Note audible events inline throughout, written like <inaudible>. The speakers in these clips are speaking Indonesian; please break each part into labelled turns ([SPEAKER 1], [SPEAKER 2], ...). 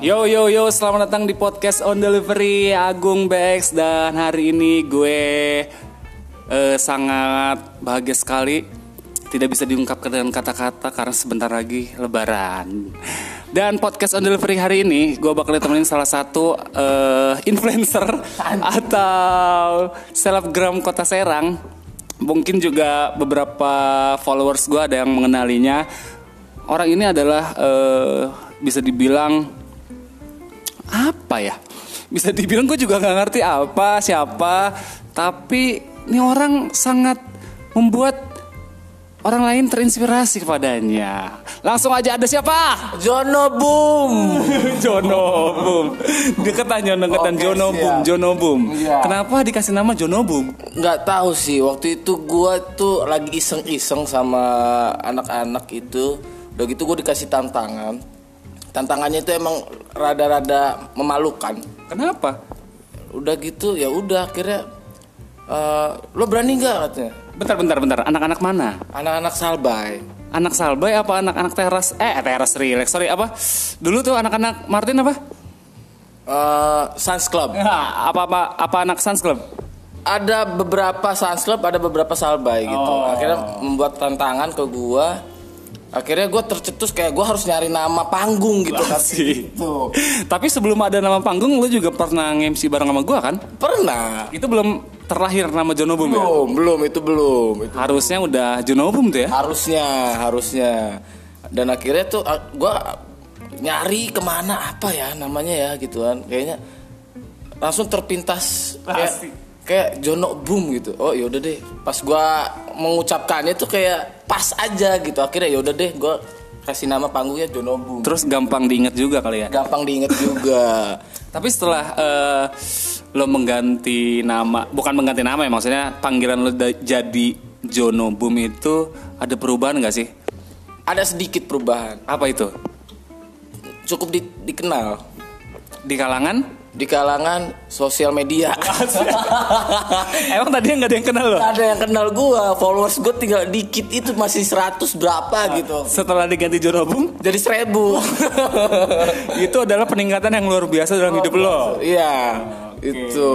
[SPEAKER 1] Yo yo yo, selamat datang di podcast On Delivery Agung BX dan hari ini gue eh, sangat bahagia sekali. Tidak bisa diungkapkan dengan kata-kata karena sebentar lagi Lebaran. Dan podcast On Delivery hari ini gue bakal ditemenin salah satu eh, influencer atau selebgram Kota Serang. Mungkin juga beberapa followers gue ada yang mengenalinya. Orang ini adalah eh, bisa dibilang apa ya bisa dibilang gue juga nggak ngerti apa siapa tapi ini orang sangat membuat orang lain terinspirasi kepadanya langsung aja ada siapa
[SPEAKER 2] Jono Boom.
[SPEAKER 1] <laughs> Jono Boom deketan Jono deketan
[SPEAKER 2] Oke,
[SPEAKER 1] Jono
[SPEAKER 2] siap.
[SPEAKER 1] Boom Jono Boom
[SPEAKER 2] Iya.
[SPEAKER 1] kenapa dikasih nama Jono Boom
[SPEAKER 2] Nggak tahu sih. Waktu itu gua tuh lagi iseng-iseng sama anak-anak itu. Udah gitu gue dikasih tantangan. Tantangannya itu emang rada-rada memalukan.
[SPEAKER 1] kenapa
[SPEAKER 2] Udah gitu ya udah akhirnya eh, lo berani nggak katanya
[SPEAKER 1] bentar bentar bentar anak-anak mana
[SPEAKER 2] anak-anak salbay
[SPEAKER 1] anak Salbay apa anak-anak teras eh teras relax sorry apa dulu tuh anak-anak Martin apa
[SPEAKER 2] eh Suns Club
[SPEAKER 1] apa apa apa anak Suns Club
[SPEAKER 2] ada beberapa Suns Club ada beberapa salbay gitu akhirnya membuat tantangan ke gua akhirnya gua tercetus kayak gua harus nyari nama panggung gitu kan
[SPEAKER 1] sih
[SPEAKER 2] Gitu.
[SPEAKER 1] Tapi sebelum ada nama panggung lu juga pernah nge-MC bareng sama gua kan?
[SPEAKER 2] Pernah.
[SPEAKER 1] Itu belum terlahir nama Jonobum ya?
[SPEAKER 2] Belum, belum itu belum. Itu
[SPEAKER 1] Harusnya udah Jonobum tuh ya?
[SPEAKER 2] harusnya, harusnya. Dan akhirnya tuh ah, gua nyari kemana apa ya namanya ya gitu kan. Kayaknya langsung terpintas kayak
[SPEAKER 1] Pasti.
[SPEAKER 2] kayak Jono Boom gitu. Oh, yaudah deh. Pas gua mengucapkannya tuh kayak pas aja gitu. Akhirnya yaudah deh gua kasih nama panggungnya Jono Boom.
[SPEAKER 1] Terus gampang diingat juga kali ya?
[SPEAKER 2] Gampang diinget juga.
[SPEAKER 1] Tapi setelah eh, lo mengganti nama, bukan mengganti nama ya maksudnya panggilan lo da- jadi Jonobum itu ada perubahan gak sih?
[SPEAKER 2] Ada sedikit perubahan.
[SPEAKER 1] Apa itu?
[SPEAKER 2] Cukup di- dikenal
[SPEAKER 1] Di kalangan? <laughs>
[SPEAKER 2] di kalangan sosial media.
[SPEAKER 1] Emang tadi nggak ada yang kenal lo?
[SPEAKER 2] Gak ada yang kenal gua followers gua tinggal dikit itu masih 100 berapa gitu
[SPEAKER 1] Setelah diganti Jonobum,
[SPEAKER 2] jadi seribu
[SPEAKER 1] <laughs> itu adalah peningkatan yang luar biasa dalam hidup lo.
[SPEAKER 2] <laughs> iya itu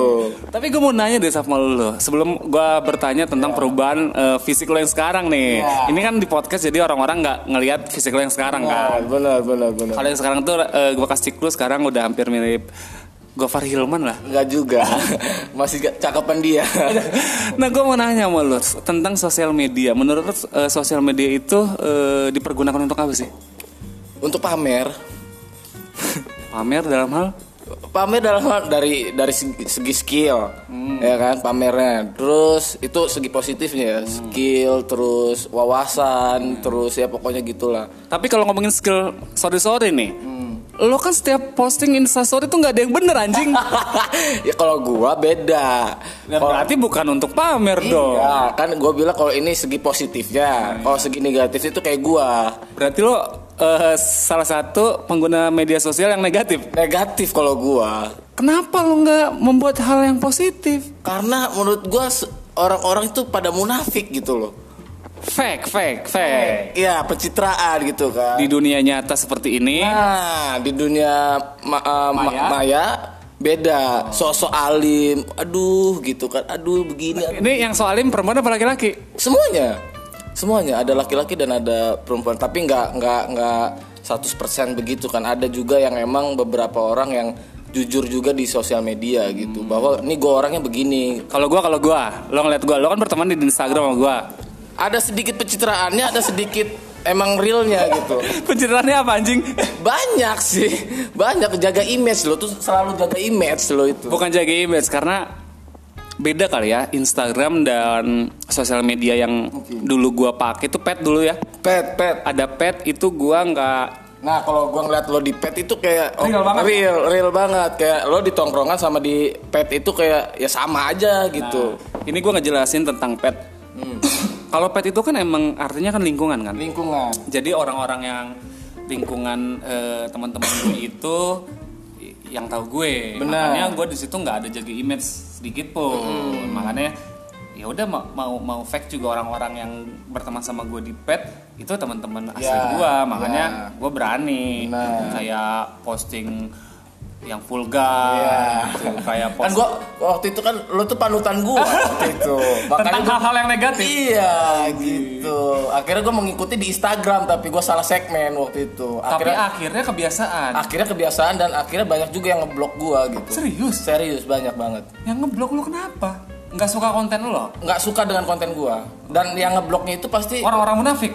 [SPEAKER 1] Tapi gue mau nanya deh sama lo Sebelum gue bertanya tentang perubahan eh, fisik lo yang sekarang nih Ini kan di podcast jadi orang-orang nggak ngelihat fisik lo yang sekarang
[SPEAKER 2] Iya.
[SPEAKER 1] kan
[SPEAKER 2] Nah, benar benar benar
[SPEAKER 1] Kalau yang sekarang tuh gue kasih clue sekarang udah hampir mirip Gofar Hilman lah
[SPEAKER 2] nggak <laughs> juga masih gak cakapan <laughs> dia
[SPEAKER 1] Nah gue mau nanya sama lo tentang sosial media Menurut lo eh, sosial media itu eh, dipergunakan untuk apa sih?
[SPEAKER 2] untuk pamer
[SPEAKER 1] Pamer dalam hal?
[SPEAKER 2] pamer dalam hal dari dari segi, segi skill ya kan pamernya terus itu segi positifnya ya skill terus wawasan terus ya pokoknya gitulah <laughs>
[SPEAKER 1] Tapi kalau ngomongin skill sorry-sorry nih Lo kan setiap posting instastory tuh nggak ada yang bener anjing
[SPEAKER 2] ya kalau gua beda
[SPEAKER 1] Nah, Berarti bukan untuk pamer dong
[SPEAKER 2] kan? Iya, kan gue bilang kalau ini segi positifnya, kalau segi negatifnya itu kayak gua
[SPEAKER 1] Berarti lo eh, salah satu pengguna media sosial yang negatif.
[SPEAKER 2] negatif kalau gua
[SPEAKER 1] Kenapa lo nggak membuat hal yang positif?
[SPEAKER 2] karena menurut gua se- orang-orang itu pada munafik gitu loh,
[SPEAKER 1] Fake, fake, fake.
[SPEAKER 2] iya pencitraan gitu kan.
[SPEAKER 1] Di dunia nyata seperti ini,
[SPEAKER 2] nah di dunia ma- eh, ma-
[SPEAKER 1] Maya.
[SPEAKER 2] maya. beda, sosok alim, aduh gitu kan, aduh begini, aduh.
[SPEAKER 1] ini yang soalim perempuan apa laki-laki?
[SPEAKER 2] semuanya, semuanya ada laki-laki dan ada perempuan, tapi nggak nggak nggak 100% begitu kan, ada juga yang emang beberapa orang yang jujur juga di sosial media gitu, bahwa ini gue orangnya begini,
[SPEAKER 1] Kalau gua, kalau gua, lo ngeliat gua, lo kan berteman di Instagram sama gua.
[SPEAKER 2] ada sedikit pencitraannya, ada sedikit emang realnya gitu.
[SPEAKER 1] Pencitraannya apa anjing?
[SPEAKER 2] Banyak sih, banyak jaga image lo tuh selalu jaga image lo itu.
[SPEAKER 1] Bukan jaga image karena beda kali ya Instagram dan sosial media yang dulu gua pakai tuh pet dulu ya.
[SPEAKER 2] Pet, pet.
[SPEAKER 1] Ada pet itu gua nggak
[SPEAKER 2] Nah kalau gua ngeliat lo di pet itu kayak oh,
[SPEAKER 1] Real banget.
[SPEAKER 2] real, real banget. Kayak lo di tongkrongan sama di pet itu kayak ya sama aja gitu.
[SPEAKER 1] Ini gue ngejelasin tentang pet.
[SPEAKER 2] Hmm.
[SPEAKER 1] <coughs> Kalau pet itu kan emang artinya kan lingkungan kan.
[SPEAKER 2] Lingkungan.
[SPEAKER 1] Jadi orang-orang yang lingkungan eh, teman-teman gue itu i- yang tahu gue.
[SPEAKER 2] Benar. Hmm.
[SPEAKER 1] Makanya gue di situ nggak ada jaga image sedikit pun. Makanya ya udah ma- mau mau fake juga orang-orang yang berteman sama gue di pet itu teman-teman asli
[SPEAKER 2] Ya,
[SPEAKER 1] gue makanya
[SPEAKER 2] ya.
[SPEAKER 1] gue berani
[SPEAKER 2] Benar.
[SPEAKER 1] kayak posting yang vulgar
[SPEAKER 2] Ya.
[SPEAKER 1] gitu. kayak
[SPEAKER 2] kan
[SPEAKER 1] posting
[SPEAKER 2] gua waktu itu kan lo tuh panutan gua <laughs> waktu itu
[SPEAKER 1] tentang
[SPEAKER 2] gua-
[SPEAKER 1] hal-hal yang negatif
[SPEAKER 2] iya gitu akhirnya gua mengikuti di Instagram tapi gua salah segmen waktu itu
[SPEAKER 1] tapi
[SPEAKER 2] akhirnya
[SPEAKER 1] akhirnya kebiasaan
[SPEAKER 2] akhirnya kebiasaan dan akhirnya banyak juga yang ngeblok gua gitu
[SPEAKER 1] serius
[SPEAKER 2] serius banyak banget
[SPEAKER 1] yang ngeblok lu kenapa nggak suka konten lu loh
[SPEAKER 2] nggak suka dengan konten gua dan yang ngebloknya itu pasti
[SPEAKER 1] orang-orang munafik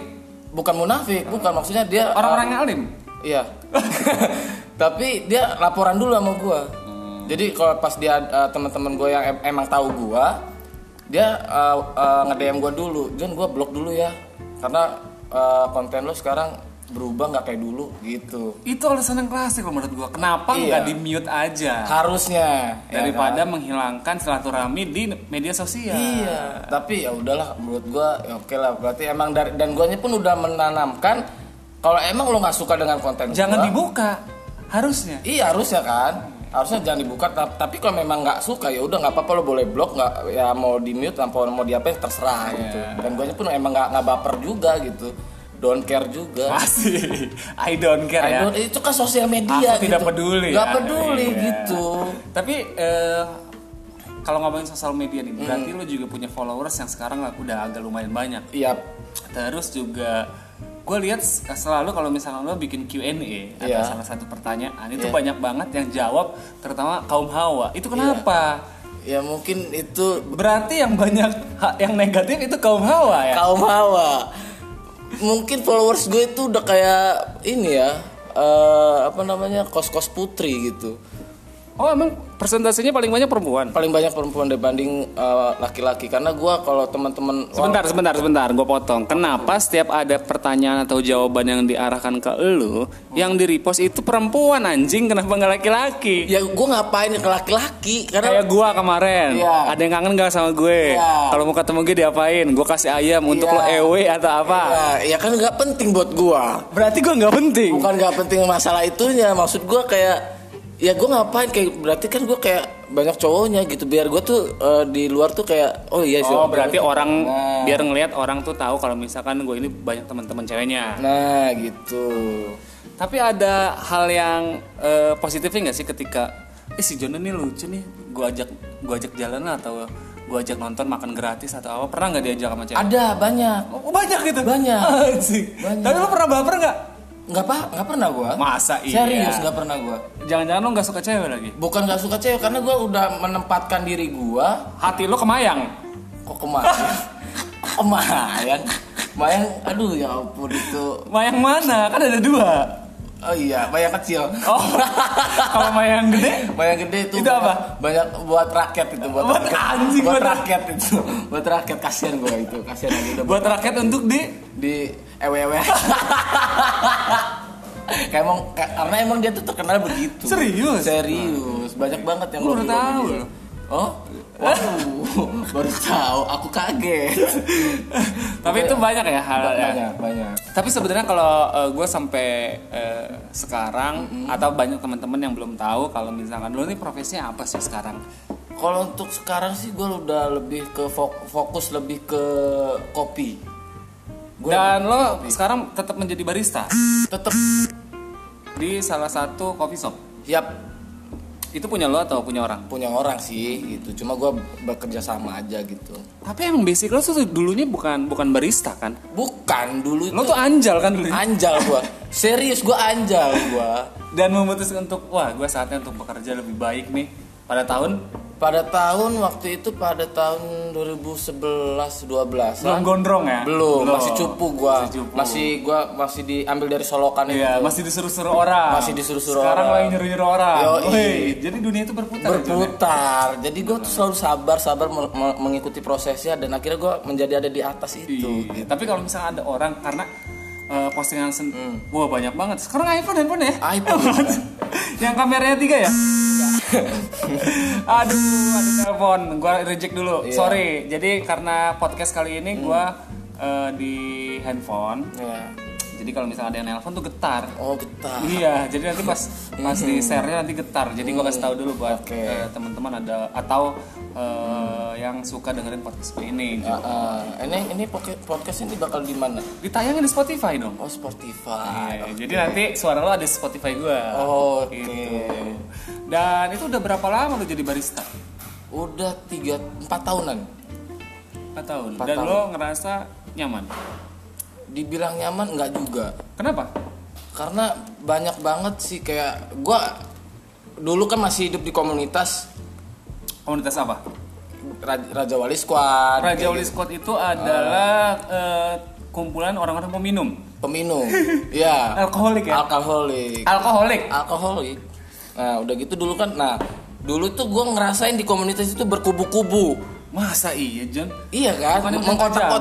[SPEAKER 2] bukan munafik bukan maksudnya dia
[SPEAKER 1] orang-orang yang alim
[SPEAKER 2] Iya. <laughs> Tapi dia laporan dulu sama gua. Jadi kalau pas dia eh, teman-teman gua yang em- emang tahu gua, dia eh, eh, nge-DM gua dulu. Jon gua blok dulu ya. Karena eh, konten lo sekarang berubah nggak kayak dulu gitu.
[SPEAKER 1] itu alasan yang klasik loh menurut gua kenapa
[SPEAKER 2] Iya.
[SPEAKER 1] nggak di mute aja
[SPEAKER 2] Harusnya ya
[SPEAKER 1] daripada
[SPEAKER 2] kan?
[SPEAKER 1] menghilangkan silaturahmi di media sosial.
[SPEAKER 2] Iya. Tapi ya udahlah menurut gua ya oke lah berarti emang dari dan guanya pun udah menanamkan kalau emang lo nggak suka dengan konten
[SPEAKER 1] Jangan
[SPEAKER 2] gua,
[SPEAKER 1] dibuka harusnya.
[SPEAKER 2] Iya harusnya kan. Harusnya jangan dibuka. Ta- Tapi kalau memang nggak suka ya udah nggak apa-apa lo boleh blok nggak ya mau di mute apa mau diapain terserah
[SPEAKER 1] Iya.
[SPEAKER 2] gitu. Dan gue pun emang nggak nggak baper juga gitu. Don't care juga.
[SPEAKER 1] Pasti. <laughs> I don't care
[SPEAKER 2] I
[SPEAKER 1] ya.
[SPEAKER 2] don't- itu kan sosial media.
[SPEAKER 1] Aku tidak peduli,
[SPEAKER 2] Gak
[SPEAKER 1] ya.
[SPEAKER 2] peduli
[SPEAKER 1] Iya.
[SPEAKER 2] gitu.
[SPEAKER 1] Tapi eh, kalau ngomongin sosial media nih, berarti
[SPEAKER 2] Hmm.
[SPEAKER 1] lu juga punya followers yang sekarang udah agak lumayan banyak.
[SPEAKER 2] Iya.
[SPEAKER 1] Terus juga gue lihat selalu kalau misalnya lo bikin Q&A ada
[SPEAKER 2] Iya.
[SPEAKER 1] salah satu pertanyaan itu banyak banget yang jawab terutama kaum hawa itu kenapa
[SPEAKER 2] Ya mungkin itu
[SPEAKER 1] berarti yang banyak ha- yang negatif itu kaum hawa ya
[SPEAKER 2] kaum hawa mungkin followers gue itu udah kayak ini ya eh, apa namanya kos-kos putri gitu
[SPEAKER 1] Oh emang persentasenya paling banyak perempuan?
[SPEAKER 2] paling banyak perempuan dibanding eh, laki-laki karena gua kalau teman-teman
[SPEAKER 1] Sebentar, sebentar, sebentar, gue potong. Kenapa setiap ada pertanyaan atau jawaban yang diarahkan ke elu, yang di repost itu perempuan anjing, kenapa nggak laki-laki?
[SPEAKER 2] ya gue ngapain ke laki-laki karena
[SPEAKER 1] Kayak gua kemarin,
[SPEAKER 2] Iya.
[SPEAKER 1] ada yang kangen gak sama gue?
[SPEAKER 2] Iya.
[SPEAKER 1] Kalau mau ketemu gue diapain? Gue kasih ayam untuk lo
[SPEAKER 2] Iya.
[SPEAKER 1] EW atau apa?
[SPEAKER 2] ya, ya kan nggak penting buat gua
[SPEAKER 1] Berarti gue nggak penting.
[SPEAKER 2] bukan nggak penting masalah itunya maksud gua kayak ya gue ngapain kayak berarti kan gua kayak banyak cowoknya gitu biar gue tuh eh, di luar tuh kayak oh iya sih
[SPEAKER 1] Oh berarti orang
[SPEAKER 2] Nah.
[SPEAKER 1] biar ngelihat orang tuh tahu kalau misalkan gue ini banyak teman-teman ceweknya.
[SPEAKER 2] nah gitu
[SPEAKER 1] Tapi ada hal yang eh, positifnya nggak sih ketika eh si Jono nih lucu nih, gua ajak gua ajak jalan lah atau gua ajak nonton makan gratis atau apa pernah nggak diajak sama cewek?
[SPEAKER 2] ada banyak
[SPEAKER 1] Oh, banyak gitu.
[SPEAKER 2] Banyak.
[SPEAKER 1] Anjing.
[SPEAKER 2] Banyak.
[SPEAKER 1] Tapi lu pernah baper nggak?
[SPEAKER 2] nggak apa nggak pernah gua
[SPEAKER 1] Masa iya?
[SPEAKER 2] serius nggak pernah gua
[SPEAKER 1] Jangan-jangan lu nggak suka cewek lagi?
[SPEAKER 2] bukan nggak suka cewek karena gua udah menempatkan diri gua
[SPEAKER 1] Hati lu kemayang.
[SPEAKER 2] kok kemarin kemarin Mayang, aduh ya ampun itu
[SPEAKER 1] Mayang mana? Kan ada dua.
[SPEAKER 2] Oh iya, mayang kecil
[SPEAKER 1] Oh. <laughs> Kalau mayang gede?
[SPEAKER 2] Mayang gede itu
[SPEAKER 1] Itu apa?
[SPEAKER 2] Banyak buat rakyat itu Buat,
[SPEAKER 1] Buat
[SPEAKER 2] rakyat.
[SPEAKER 1] anjing,
[SPEAKER 2] Buat
[SPEAKER 1] buat
[SPEAKER 2] rakyat itu Buat rakyat, kasihan gue itu Kasihan lagi udah
[SPEAKER 1] Buat rakyat untuk di
[SPEAKER 2] di EWW Kayak emang, kayak- karena emang dia tuh terkenal begitu
[SPEAKER 1] Serius?
[SPEAKER 2] Serius, banyak banget yang
[SPEAKER 1] Gua baru
[SPEAKER 2] lobby-lobby
[SPEAKER 1] tahu
[SPEAKER 2] dia.
[SPEAKER 1] loh.
[SPEAKER 2] Oh? Waduh, baru tahu, aku kaget
[SPEAKER 1] Tapi itu banyak ya hal yang
[SPEAKER 2] Banyak, banyak
[SPEAKER 1] Tapi sebenarnya kalau gue sampai eh, sekarang atau banyak teman-teman yang belum tahu kalau misalkan lo nih profesinya apa sih sekarang?
[SPEAKER 2] Kalau untuk sekarang sih gue udah lebih ke fok- fokus lebih ke kopi.
[SPEAKER 1] Dan lo sekarang tetap menjadi barista
[SPEAKER 2] Tetap
[SPEAKER 1] di salah satu coffee shop.
[SPEAKER 2] siap
[SPEAKER 1] Itu punya lo atau punya orang?
[SPEAKER 2] punya orang sih gitu. Cuma gue bekerja sama aja gitu.
[SPEAKER 1] Tapi emang basic lo tuh dulunya bukan bukan barista kan?
[SPEAKER 2] Bukan dulu
[SPEAKER 1] Lo
[SPEAKER 2] itu
[SPEAKER 1] tuh anjal kan dulunya.
[SPEAKER 2] anjal gue. Serius gue anjal gue.
[SPEAKER 1] Dan memutuskan untuk wah gue saatnya untuk bekerja lebih baik nih pada tahun
[SPEAKER 2] Pada tahun waktu itu pada tahun 2011 12
[SPEAKER 1] belum gondrong ya?
[SPEAKER 2] belum masih cupu gue
[SPEAKER 1] Masih cupu.
[SPEAKER 2] masih gua masih diambil dari solokan itu
[SPEAKER 1] Iya, masih disuruh-suruh orang.
[SPEAKER 2] Masih disuruh-suruh
[SPEAKER 1] Sekarang
[SPEAKER 2] orang.
[SPEAKER 1] lo yang nyuruh-nyuruh orang.
[SPEAKER 2] Yoi.
[SPEAKER 1] Woi, jadi dunia itu berputar. ya, Jon, ya?
[SPEAKER 2] berputar jadi gue tuh selalu sabar sabar me- me- mengikuti prosesnya dan akhirnya gue menjadi ada di atas itu
[SPEAKER 1] Iya, Tapi kalau misalnya ada orang karena eh, postingan sen wah banyak banget. Sekarang iPhone handphone ya?
[SPEAKER 2] Hmm. iPhone.
[SPEAKER 1] <laughs> yang kameranya tiga
[SPEAKER 2] <laughs>
[SPEAKER 1] ya? aduh, ada telepon. Gua reject dulu.
[SPEAKER 2] Iya. Hmm.
[SPEAKER 1] Sorry. Jadi karena podcast kali ini gua eh, di handphone
[SPEAKER 2] ya.
[SPEAKER 1] Jadi kalau misalnya ada yang nelpon tuh getar.
[SPEAKER 2] Oh betah.
[SPEAKER 1] Iya, jadi nanti pas pas di share-nya nanti getar. Jadi gua kasih tahu dulu buat eh, teman-teman ada atau eh, yang suka dengerin podcast gue ini.
[SPEAKER 2] Ah, ah. ini ini poke- podcast ini bakal di mana?
[SPEAKER 1] Ditayangin di Spotify dong.
[SPEAKER 2] Oh Spotify.
[SPEAKER 1] Iya, Jadi nanti suara lo ada di Iya, Spotify gua. Gitu.
[SPEAKER 2] Oh, Oke.
[SPEAKER 1] Dan itu udah berapa lama lo jadi barista?
[SPEAKER 2] Udah tiga empat tahunan.
[SPEAKER 1] 4 tahun.
[SPEAKER 2] Empat
[SPEAKER 1] Dan
[SPEAKER 2] tahun.
[SPEAKER 1] lo ngerasa nyaman.
[SPEAKER 2] Dibilang nyaman nggak juga.
[SPEAKER 1] Kenapa?
[SPEAKER 2] Karena banyak banget sih kayak gua dulu kan masih hidup di komunitas
[SPEAKER 1] Komunitas apa?
[SPEAKER 2] Ra- Raja Wali Squad.
[SPEAKER 1] Raja Wali Squad itu adalah eh, kumpulan orang-orang peminum.
[SPEAKER 2] gitu.
[SPEAKER 1] <laughs>
[SPEAKER 2] peminum. Iya.
[SPEAKER 1] Alkoholik ya?
[SPEAKER 2] Alkoholik.
[SPEAKER 1] Alkoholik.
[SPEAKER 2] Alkoholik. Nah, udah gitu dulu kan. Nah, dulu tuh gua ngerasain di komunitas itu berkubu-kubu.
[SPEAKER 1] Masa iya, John?
[SPEAKER 2] Iya kan?
[SPEAKER 1] Bukannya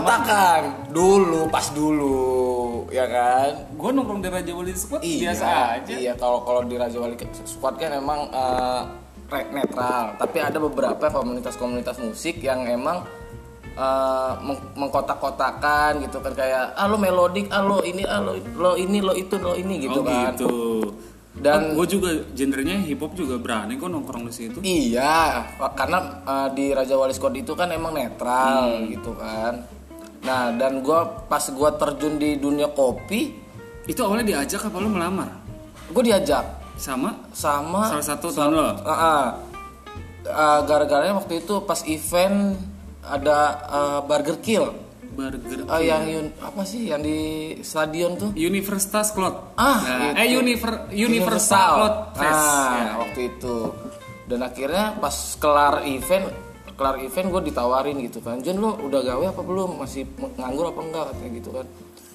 [SPEAKER 2] Mengkotak-kotakan dulu, pas dulu, ya kan?
[SPEAKER 1] Gue nongkrong di Raja Wali Squad
[SPEAKER 2] Iya.
[SPEAKER 1] biasa aja.
[SPEAKER 2] Iya, kalau kalau di Raja Wali Squad kan emang eh, re- netral, tapi ada beberapa komunitas-komunitas musik yang emang eh, meng- mengkotak-kotakan gitu kan kayak ah lo melodik, ah lo ini, ah lo, lo ini, lo itu, lo ini gitu
[SPEAKER 1] oh
[SPEAKER 2] kan.
[SPEAKER 1] gitu.
[SPEAKER 2] Dan-
[SPEAKER 1] gue juga gendernya hip hop juga berani gue nongkrong di situ.
[SPEAKER 2] Iya, karena eh, di Raja Wali Squad itu kan emang netral gitu kan. Nah, dan gua pas gua terjun di dunia kopi,
[SPEAKER 1] Itu awalnya diajak apa lo melamar?
[SPEAKER 2] gue diajak
[SPEAKER 1] Sama
[SPEAKER 2] sama
[SPEAKER 1] salah satu teman lo.
[SPEAKER 2] Heeh. Eh, gara-garanya waktu itu pas event ada eh, Burger Kill
[SPEAKER 1] Burger
[SPEAKER 2] Eh, yang yun- apa sih yang di stadion tuh
[SPEAKER 1] Universitas Klot. Nah,
[SPEAKER 2] Ah,
[SPEAKER 1] eh
[SPEAKER 2] itu.
[SPEAKER 1] Univer Universal Klot Fest.
[SPEAKER 2] ah,
[SPEAKER 1] Ya.
[SPEAKER 2] waktu itu dan akhirnya pas kelar event kelar event gue ditawarin gitu kan Jen lo udah gawe apa belum masih nganggur apa enggak katanya gitu kan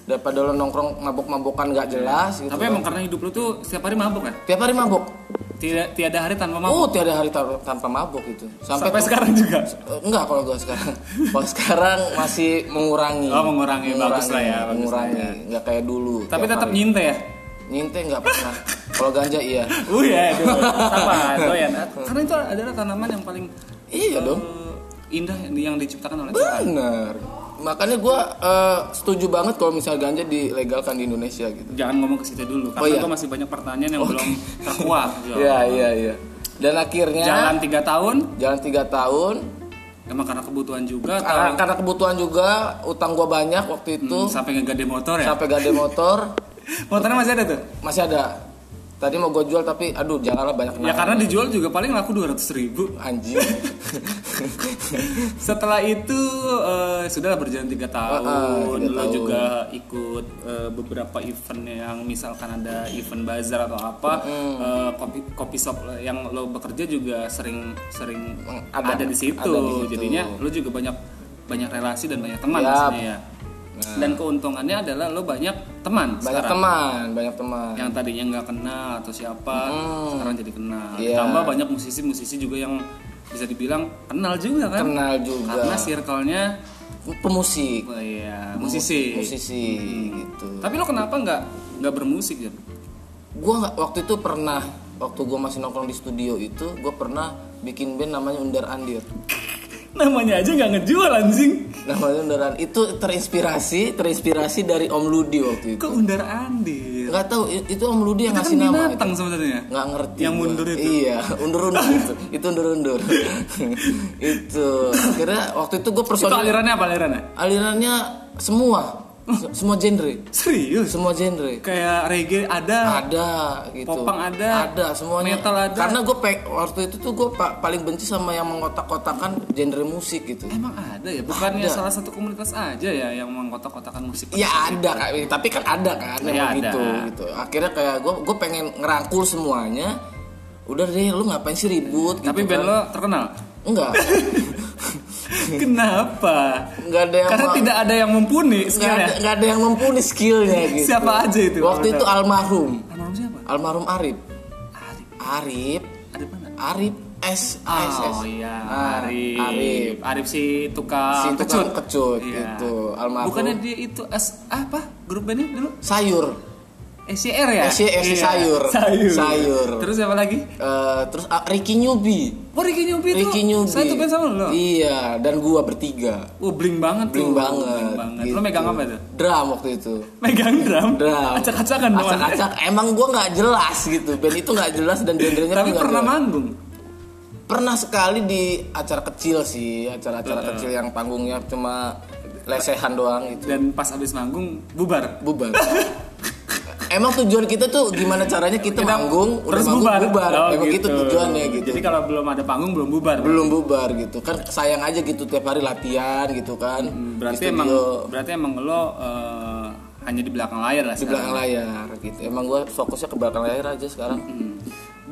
[SPEAKER 2] daripada lo nongkrong mabok-mabokan gak jelas gitu
[SPEAKER 1] Tapi
[SPEAKER 2] kan.
[SPEAKER 1] emang karena hidup lo tuh setiap hari mabuk kan?
[SPEAKER 2] tiap hari mabok
[SPEAKER 1] Tidak tiada hari tanpa mabuk.
[SPEAKER 2] oh tiada hari ta- tanpa mabok gitu sampai,
[SPEAKER 1] Sampai sekarang juga.
[SPEAKER 2] Eh, enggak kalau gue
[SPEAKER 1] <laughs>
[SPEAKER 2] sekarang kalau sekarang masih mengurangi
[SPEAKER 1] Oh, mengurangi. Bagus lah ya, bagus
[SPEAKER 2] mengurangi nggak kayak dulu
[SPEAKER 1] Tapi
[SPEAKER 2] Tiap
[SPEAKER 1] tetap
[SPEAKER 2] hari.
[SPEAKER 1] nyinte ya.
[SPEAKER 2] nyinte nggak pernah kalau ganja
[SPEAKER 1] <laughs>
[SPEAKER 2] iya
[SPEAKER 1] Uh ya, aduh.
[SPEAKER 2] <laughs>
[SPEAKER 1] Sabar, doyan. Karena itu adalah tanaman yang paling
[SPEAKER 2] iya dong
[SPEAKER 1] eh, indah yang diciptakan oleh Tuhan.
[SPEAKER 2] Bener. Makanya gue setuju banget kalau misal ganja dilegalkan di Indonesia gitu.
[SPEAKER 1] Jangan ngomong ke situ dulu, karena
[SPEAKER 2] Oh, iya. Oh.
[SPEAKER 1] gua masih banyak pertanyaan yang belum terkuak. Jo.
[SPEAKER 2] Iya iya iya. Dan akhirnya
[SPEAKER 1] Jalan tiga tahun,
[SPEAKER 2] jalan tiga tahun
[SPEAKER 1] emang karena kebutuhan juga atau
[SPEAKER 2] karena, karena kebutuhan juga utang gue banyak waktu itu
[SPEAKER 1] sampai ngegade motor ya?
[SPEAKER 2] sampai gade motor
[SPEAKER 1] Motornya masih ada tuh?
[SPEAKER 2] masih ada. Tadi mau gue jual tapi aduh janganlah banyak
[SPEAKER 1] Ya
[SPEAKER 2] nanya.
[SPEAKER 1] karena dijual juga paling laku 200 ribu <laughs>
[SPEAKER 2] anjing.
[SPEAKER 1] Setelah itu eh, sudah berjalan tiga tahun,
[SPEAKER 2] Ah, ah, tiga
[SPEAKER 1] lo
[SPEAKER 2] tahun.
[SPEAKER 1] juga ikut eh, beberapa event yang misalkan ada event bazar atau apa, eh, kopi kopi shop yang lo bekerja juga sering sering
[SPEAKER 2] Meng-
[SPEAKER 1] ada,
[SPEAKER 2] ada-
[SPEAKER 1] di situ,
[SPEAKER 2] ada di situ.
[SPEAKER 1] jadinya lo juga banyak banyak relasi dan banyak teman
[SPEAKER 2] Yap. Nah.
[SPEAKER 1] pastinya ya. Dan keuntungannya adalah lo banyak teman
[SPEAKER 2] banyak
[SPEAKER 1] sekarang.
[SPEAKER 2] teman, banyak teman.
[SPEAKER 1] yang tadinya nggak kenal atau siapa
[SPEAKER 2] Hmm.
[SPEAKER 1] sekarang jadi kenal
[SPEAKER 2] Iya.
[SPEAKER 1] tambah banyak musisi-musisi juga yang bisa dibilang kenal juga kan
[SPEAKER 2] Kenal juga.
[SPEAKER 1] karena circle-nya
[SPEAKER 2] Pemusik,
[SPEAKER 1] oh iya, musisi.
[SPEAKER 2] musisi gitu.
[SPEAKER 1] tapi lo kenapa nggak nggak bermusik ya
[SPEAKER 2] gue waktu itu pernah waktu gue masih nongkrong di studio itu gue pernah bikin band namanya Undar Andir
[SPEAKER 1] namanya aja nggak ngejual anjing
[SPEAKER 2] namanya Undar Andir itu terinspirasi terinspirasi dari Om Ludi waktu itu
[SPEAKER 1] ke undar andir
[SPEAKER 2] nggak tahu i- itu Om Ludi yang
[SPEAKER 1] itu kan
[SPEAKER 2] ngasih Iya, nama itu.
[SPEAKER 1] binatang sebenarnya
[SPEAKER 2] nggak ngerti
[SPEAKER 1] Yang
[SPEAKER 2] gua.
[SPEAKER 1] mundur itu. <laughs>
[SPEAKER 2] iya undur undur itu itu undur undur <laughs> itu akhirnya waktu itu gue
[SPEAKER 1] itu
[SPEAKER 2] personil
[SPEAKER 1] alirannya apa alirannya
[SPEAKER 2] alirannya semua Se- semua genre
[SPEAKER 1] serius
[SPEAKER 2] semua genre
[SPEAKER 1] kayak reggae ada
[SPEAKER 2] ada gitu
[SPEAKER 1] Popang ada,
[SPEAKER 2] ada semuanya
[SPEAKER 1] metal ada.
[SPEAKER 2] karena gue waktu itu tuh gue paling benci sama yang mengotak-kotakan genre musik gitu
[SPEAKER 1] emang ada ya bukannya
[SPEAKER 2] Ada.
[SPEAKER 1] salah satu komunitas aja ya yang mengkotak-kotakan musik
[SPEAKER 2] ya ada Kak. tapi kan ada kan
[SPEAKER 1] Ya,
[SPEAKER 2] emang
[SPEAKER 1] ada.
[SPEAKER 2] gitu gitu akhirnya kayak gue gue pengen ngerangkul semuanya udah deh lu ngapain sih ribut
[SPEAKER 1] tapi
[SPEAKER 2] gitu
[SPEAKER 1] band
[SPEAKER 2] kan.
[SPEAKER 1] lo
[SPEAKER 2] <laughs>
[SPEAKER 1] terkenal
[SPEAKER 2] enggak
[SPEAKER 1] kenapa
[SPEAKER 2] enggak ada yang
[SPEAKER 1] Karena
[SPEAKER 2] mau-
[SPEAKER 1] tidak ada yang mumpuni
[SPEAKER 2] enggak ada,
[SPEAKER 1] sekarang.
[SPEAKER 2] enggak ada yang mumpuni skillnya
[SPEAKER 1] <laughs>
[SPEAKER 2] gitu
[SPEAKER 1] Siapa aja itu?
[SPEAKER 2] waktu itu almarhum
[SPEAKER 1] Almarhum siapa?
[SPEAKER 2] almarhum Arif
[SPEAKER 1] Arif.
[SPEAKER 2] Arif
[SPEAKER 1] Ada mana?
[SPEAKER 2] Arif S S S
[SPEAKER 1] Oh iya,
[SPEAKER 2] Ah,
[SPEAKER 1] Arif.
[SPEAKER 2] Arif
[SPEAKER 1] Arif. si
[SPEAKER 2] si
[SPEAKER 1] tukang
[SPEAKER 2] tukang
[SPEAKER 1] kecut.
[SPEAKER 2] kecut
[SPEAKER 1] Iya.
[SPEAKER 2] gitu almarhum
[SPEAKER 1] Bukannya dia itu as apa? Grup bandnya dulu
[SPEAKER 2] sayur
[SPEAKER 1] SCR ya?
[SPEAKER 2] SC sayur.
[SPEAKER 1] Sayur.
[SPEAKER 2] Sayur.
[SPEAKER 1] Terus siapa lagi?
[SPEAKER 2] Eh, terus ah, Ricky Newbie
[SPEAKER 1] Oh Ricky Nyubi
[SPEAKER 2] Ricky
[SPEAKER 1] tuh.
[SPEAKER 2] Newbie
[SPEAKER 1] Satu band sama lo.
[SPEAKER 2] iya dan gua bertiga
[SPEAKER 1] Oh bling banget tuh.
[SPEAKER 2] Bling banget. Gitu.
[SPEAKER 1] Bling banget. banget. Lu megang apa tuh?
[SPEAKER 2] Drum waktu itu.
[SPEAKER 1] Megang drum.
[SPEAKER 2] Drum.
[SPEAKER 1] Acak-acakan dong.
[SPEAKER 2] Acak-acak. Emang gue nggak jelas gitu. Band itu nggak jelas
[SPEAKER 1] <laughs>
[SPEAKER 2] dan genrenya
[SPEAKER 1] Tapi
[SPEAKER 2] pun nggak
[SPEAKER 1] pernah
[SPEAKER 2] jelas.
[SPEAKER 1] manggung.
[SPEAKER 2] Pernah sekali di acara kecil sih, acara-acara kecil yang panggungnya cuma lesehan doang gitu.
[SPEAKER 1] Dan pas abis manggung bubar. <laughs>
[SPEAKER 2] Bubar. Emang tujuan kita tuh gimana caranya kita manggung,
[SPEAKER 1] Terus
[SPEAKER 2] udah
[SPEAKER 1] bubar.
[SPEAKER 2] manggung bubar.
[SPEAKER 1] Oh,
[SPEAKER 2] Emang gitu. tujuannya gitu.
[SPEAKER 1] Jadi kalau belum ada panggung belum bubar.
[SPEAKER 2] belum bubar gitu kan sayang aja gitu tiap hari latihan gitu kan
[SPEAKER 1] Hmm, Berarti
[SPEAKER 2] Di
[SPEAKER 1] emang
[SPEAKER 2] studio,
[SPEAKER 1] berarti emang lo eh, hanya di belakang layar lah
[SPEAKER 2] di
[SPEAKER 1] sekarang.
[SPEAKER 2] belakang layar gitu emang gue fokusnya ke belakang layar aja sekarang
[SPEAKER 1] Hmm.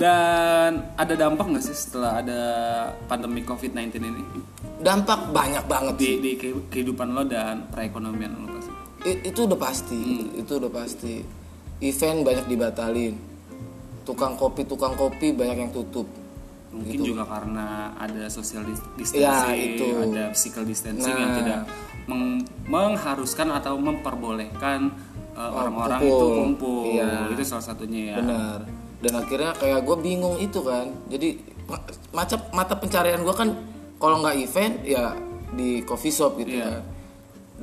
[SPEAKER 1] Dan ada dampak nggak sih setelah ada pandemi COVID-19 ini
[SPEAKER 2] dampak banyak banget
[SPEAKER 1] di,
[SPEAKER 2] sih
[SPEAKER 1] di ke- kehidupan lo dan perekonomian lo pasti?
[SPEAKER 2] I- itu udah pasti
[SPEAKER 1] Hmm.
[SPEAKER 2] itu udah pasti event banyak dibatalin tukang kopi tukang kopi banyak yang tutup
[SPEAKER 1] Mungkin juga karena ada social dis-
[SPEAKER 2] Ya,
[SPEAKER 1] distancing,
[SPEAKER 2] itu.
[SPEAKER 1] ada physical distancing yang
[SPEAKER 2] Nah.
[SPEAKER 1] tidak meng- mengharuskan atau memperbolehkan eh, orang-orang itu
[SPEAKER 2] Oh, kumpul.
[SPEAKER 1] kumpul.
[SPEAKER 2] Iya.
[SPEAKER 1] Itu salah satunya ya.
[SPEAKER 2] benar dan akhirnya kayak gue bingung itu kan jadi ma- mata mata pencarian gue kan kalau nggak event ya di coffee shop gitu
[SPEAKER 1] Iya.
[SPEAKER 2] kan